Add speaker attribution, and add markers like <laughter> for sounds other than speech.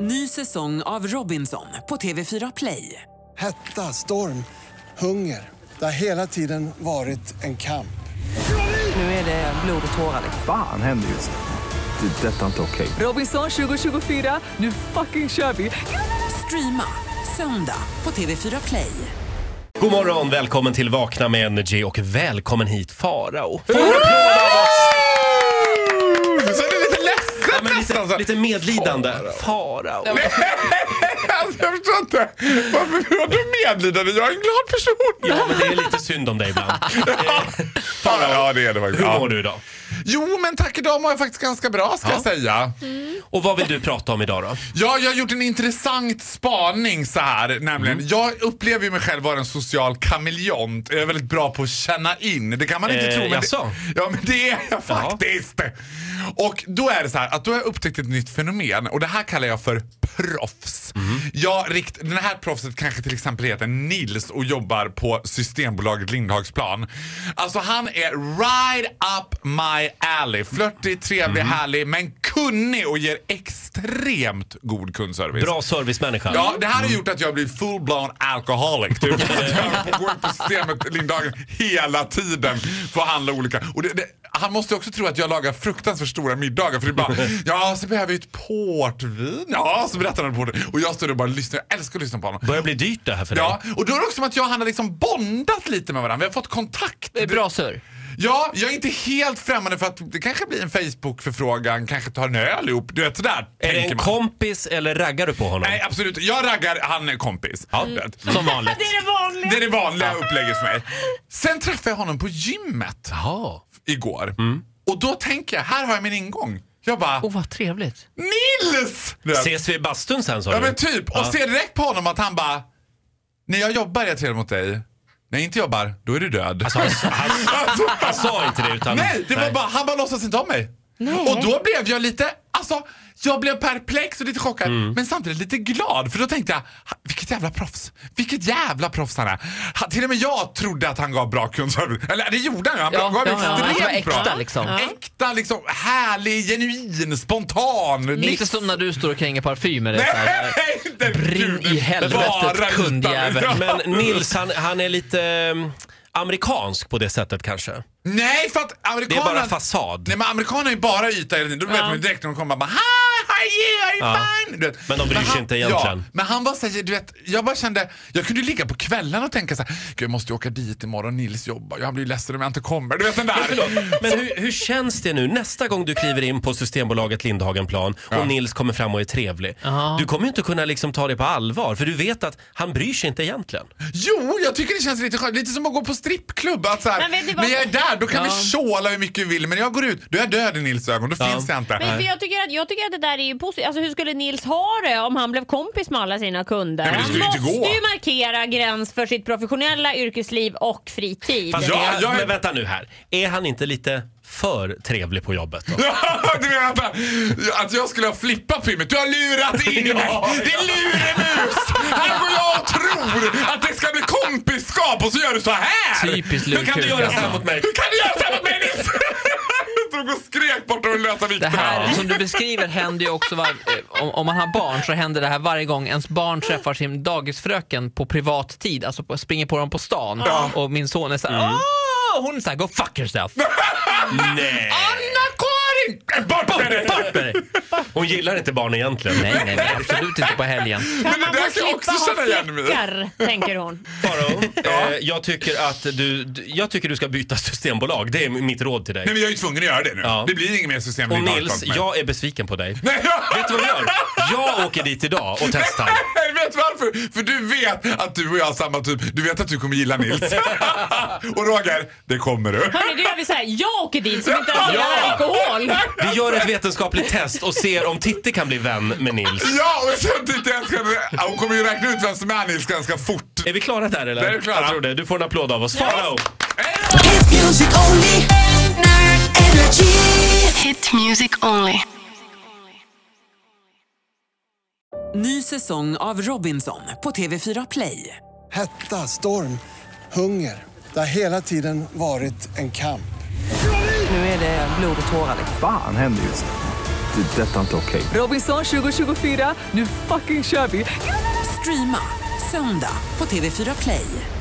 Speaker 1: Ny säsong av Robinson på TV4 Play.
Speaker 2: Hetta, storm, hunger. Det har hela tiden varit en kamp.
Speaker 1: Nu är det blod och tårar. liksom.
Speaker 3: Fan händer just nu. Det. är Detta är inte okej.
Speaker 1: Robinson 2024, nu fucking kör vi! Streama söndag på TV4 Play.
Speaker 4: God morgon, välkommen till Vakna med Energy och välkommen hit Farao. Får en applåd av oss!
Speaker 5: Du ser lite
Speaker 4: Ja,
Speaker 5: ledsen
Speaker 4: men
Speaker 5: nästan.
Speaker 4: lite,
Speaker 5: så.
Speaker 4: lite medlidande. Farao.
Speaker 5: Alltså, jag förstår inte. Varför var du medlidande? Jag är en glad
Speaker 4: <laughs>
Speaker 5: person.
Speaker 4: Ja, men det är lite synd om dig ibland.
Speaker 5: Farao. Ja, det är det faktiskt.
Speaker 4: Hur
Speaker 5: Ja.
Speaker 4: mår du idag?
Speaker 5: Jo, men tack idag mår jag faktiskt ganska bra ska
Speaker 4: Ja.
Speaker 5: jag säga.
Speaker 4: Och vad vill du prata om idag då?
Speaker 5: Ja, jag har gjort en intressant spaning så här nämligen.
Speaker 4: Mm.
Speaker 5: Jag upplever ju mig själv vara en social kameleont. Jag är väldigt bra på att känna in. Det kan man inte
Speaker 4: Eh,
Speaker 5: tro. Men
Speaker 4: jaså?
Speaker 5: det, ja, men det är jag faktiskt. Och då är det så här att då har jag upptäckt ett nytt fenomen och det här kallar jag för proffs. Jag rikt, den här proffset kanske till exempel heter Nils och jobbar på Systembolaget Lindhagsplan. Alltså han är right up my alley. Flörtig, trevlig, härlig men kunnig och ger extremt god kundservice.
Speaker 4: Bra servicemänniska.
Speaker 5: Ja, det här har gjort att jag blir full-blown alcoholic. Typ. jag går in på systemet Lindhagen hela tiden för att handla olika. Och det, det, han måste också tro att jag lagar fruktansvärt stora middagar för det är bara, ja så behöver vi ett portvin. Ja, så berättar han om portvin. Och jag står där och bara lyssnar. Jag älskar att lyssna på honom.
Speaker 4: Börjar bli dyrt det här för dig.
Speaker 5: Ja, och då är det också som att jag och han har liksom bondat lite med varandra. Vi har fått kontakt.
Speaker 6: Det är bra surr.
Speaker 5: Ja, jag är inte helt främmande för att det kanske blir en Facebook-förfrågan, kanske tar en öl ihop. Du vet sådär
Speaker 4: Är det
Speaker 5: tänker
Speaker 4: en
Speaker 5: man.
Speaker 4: kompis eller raggar du på honom?
Speaker 5: Nej, absolut. Jag raggar, han är kompis. Mm.
Speaker 4: Som vanligt.
Speaker 5: <laughs> Det är det vanliga upplägget för mig. Sen träffade jag honom på gymmet
Speaker 4: Ja.
Speaker 5: igår. Och då tänker jag, här har jag min ingång. Jag bara,
Speaker 6: Mm. Åh, vad trevligt.
Speaker 5: Nils! Du vet.
Speaker 4: Ses vi i bastun sen sa
Speaker 5: Ja
Speaker 4: du?
Speaker 5: men typ. Och ser direkt på honom att han bara, när jag jobbar är jag trevlig mot dig. När jag inte jobbar, då är du död.
Speaker 4: Han,
Speaker 5: <laughs> Alltså,
Speaker 4: han sa inte det utan...
Speaker 5: Nej, det var bara, han bara låtsas inte om mig. Och då blev jag lite, alltså jag blev perplex och lite chockad
Speaker 4: Mm.
Speaker 5: men samtidigt lite glad för då tänkte jag "Ha, vilket jävla proffs. Vilket jävla proffs han är. Ha, till och med jag trodde att han gav bra kunskap. Eller det gjorde han ju. Han
Speaker 6: Ja,
Speaker 5: gav
Speaker 6: ja, ja.
Speaker 5: extremt
Speaker 6: Det var äkta,
Speaker 5: bra.
Speaker 6: liksom.
Speaker 5: Äkta liksom. Härlig, genuin, spontan.
Speaker 6: Inte som när du står och kränger parfymer.
Speaker 5: Nej,
Speaker 6: så här.
Speaker 4: eh,
Speaker 5: inte
Speaker 6: Brinn
Speaker 5: Gud,
Speaker 6: i helvetet,
Speaker 5: bara ytan.
Speaker 6: kundjävel.
Speaker 5: Ja.
Speaker 4: Men Nils, han, han är lite eh, amerikansk på det sättet kanske.
Speaker 5: Nej, för att
Speaker 4: Det är
Speaker 5: amerikanerna...
Speaker 4: bara fasad.
Speaker 5: Nej men amerikaner är ju bara yta hela tiden. Då vet man ju direkt när de kommer bara Hi, how are you? Are you
Speaker 4: Ja.
Speaker 5: fine? Du vet.
Speaker 4: Men de bryr sig
Speaker 5: han-
Speaker 4: inte egentligen.
Speaker 5: Ja, men han var såhär, du vet, jag bara kände, jag kunde ju ligga på kvällen och tänka såhär, Gud, jag måste ju åka dit imorgon, Nils jobbar, jag blir ju ledsen om jag inte kommer. Du vet den där.
Speaker 4: Förlåt, men hur, hur känns det nu nästa gång du kliver in på Systembolaget Lindhagenplan och Nils kommer fram och är trevlig? Du kommer ju inte kunna liksom ta det på allvar för du vet att han bryr sig inte egentligen.
Speaker 5: Jo, jag tycker det känns lite skönt, lite som att gå på strippklubb. Att så här,
Speaker 7: Men vet ni vad-
Speaker 5: när jag är där, då kan vi tjåla hur mycket vi vill, men när jag går ut, då är jag död i Nils ögon, då
Speaker 4: Ja.
Speaker 5: finns jag inte.
Speaker 7: Men för jag, tycker att, jag tycker att det där är ju positivt. Alltså, hur skulle Nils ha det om han blev kompis med alla sina kunder?
Speaker 5: Nej, men det
Speaker 7: han
Speaker 5: skulle inte
Speaker 7: måste
Speaker 5: gå.
Speaker 7: ju markera gräns för sitt professionella yrkesliv och fritid.
Speaker 4: Fast
Speaker 5: Ja,
Speaker 4: är han,
Speaker 5: Alltså, jag är-
Speaker 4: Men vänta nu här, är han inte lite för trevlig på jobbet
Speaker 5: <laughs>
Speaker 4: då?
Speaker 5: Ja, du menar att, att jag skulle ha flippat filmen? Du har lurat in mig! Det är luremus! Här går jag och tror att det ska bli kompisskap och så gör du så här!
Speaker 6: Typiskt
Speaker 4: Hur kan du
Speaker 6: lurkuk,
Speaker 4: göra så här
Speaker 6: alltså.
Speaker 4: mot mig?
Speaker 5: Hur kan du göra så här mot mig Nils? <laughs> Jag stod och skrek bort de lösa
Speaker 6: Det
Speaker 5: vikterna.
Speaker 6: här som du beskriver händer ju också var, eh, om, om man har barn så händer det här varje gång ens barn träffar sin dagisfröken på privat tid, alltså på, springer på dem på stan och min son är såhär Åh! Hon är såhär go fuck yourself.
Speaker 4: Nej.
Speaker 5: Anna-Karin! Bort med dig!
Speaker 6: Bort med dig.
Speaker 4: Hon gillar inte barn egentligen.
Speaker 6: Nej, nej, nej, absolut inte på helgen.
Speaker 5: Men det
Speaker 7: Man får
Speaker 5: där kan jag också
Speaker 7: slippa
Speaker 5: känna
Speaker 7: ha
Speaker 5: igen mig
Speaker 7: fläckar, tänker hon.
Speaker 4: Faro, eh, jag, tycker att du, du- jag tycker du ska byta systembolag. Det är mitt råd till dig.
Speaker 5: Nej men jag är ju tvungen att göra det nu.
Speaker 4: Ja.
Speaker 5: Det blir inget mer system
Speaker 4: Och
Speaker 5: med
Speaker 4: Nils,
Speaker 5: Dalton med.
Speaker 4: jag är besviken på dig.
Speaker 5: <laughs> Nej,
Speaker 4: Vet du vad jag gör? Jag åker dit idag och testar.
Speaker 5: Nej, <laughs> vet du varför? För du vet att du och jag har samma typ. Du vet att du kommer gilla Nils. och Roger, det kommer du.
Speaker 7: Hörni, då gör vi så här. Jag åker dit som inte ens gillar
Speaker 4: Ja.
Speaker 7: alkohol.
Speaker 4: Vi gör ett vetenskapligt test och ser om Titti kan bli vän med Nils.
Speaker 5: Ja, och sen tyckte jag att jag ska- ja, hon kommer ju räkna ut vem som är Nils ganska fort.
Speaker 4: Är vi klara där eller?
Speaker 5: Det är vi klara.
Speaker 4: Jag tror det. Du får en applåd av oss. Farao!
Speaker 8: Hit music only. Energy.
Speaker 9: Hit music only.
Speaker 1: Ny säsong av Robinson på TV4 Play.
Speaker 2: Hetta, storm, hunger. Det har hela tiden varit en kamp.
Speaker 1: liksom.
Speaker 3: Fan händer just nu. Det är detta inte okej.
Speaker 1: Robinson 2024, nu fucking kör vi! Streama söndag på TV4 Play.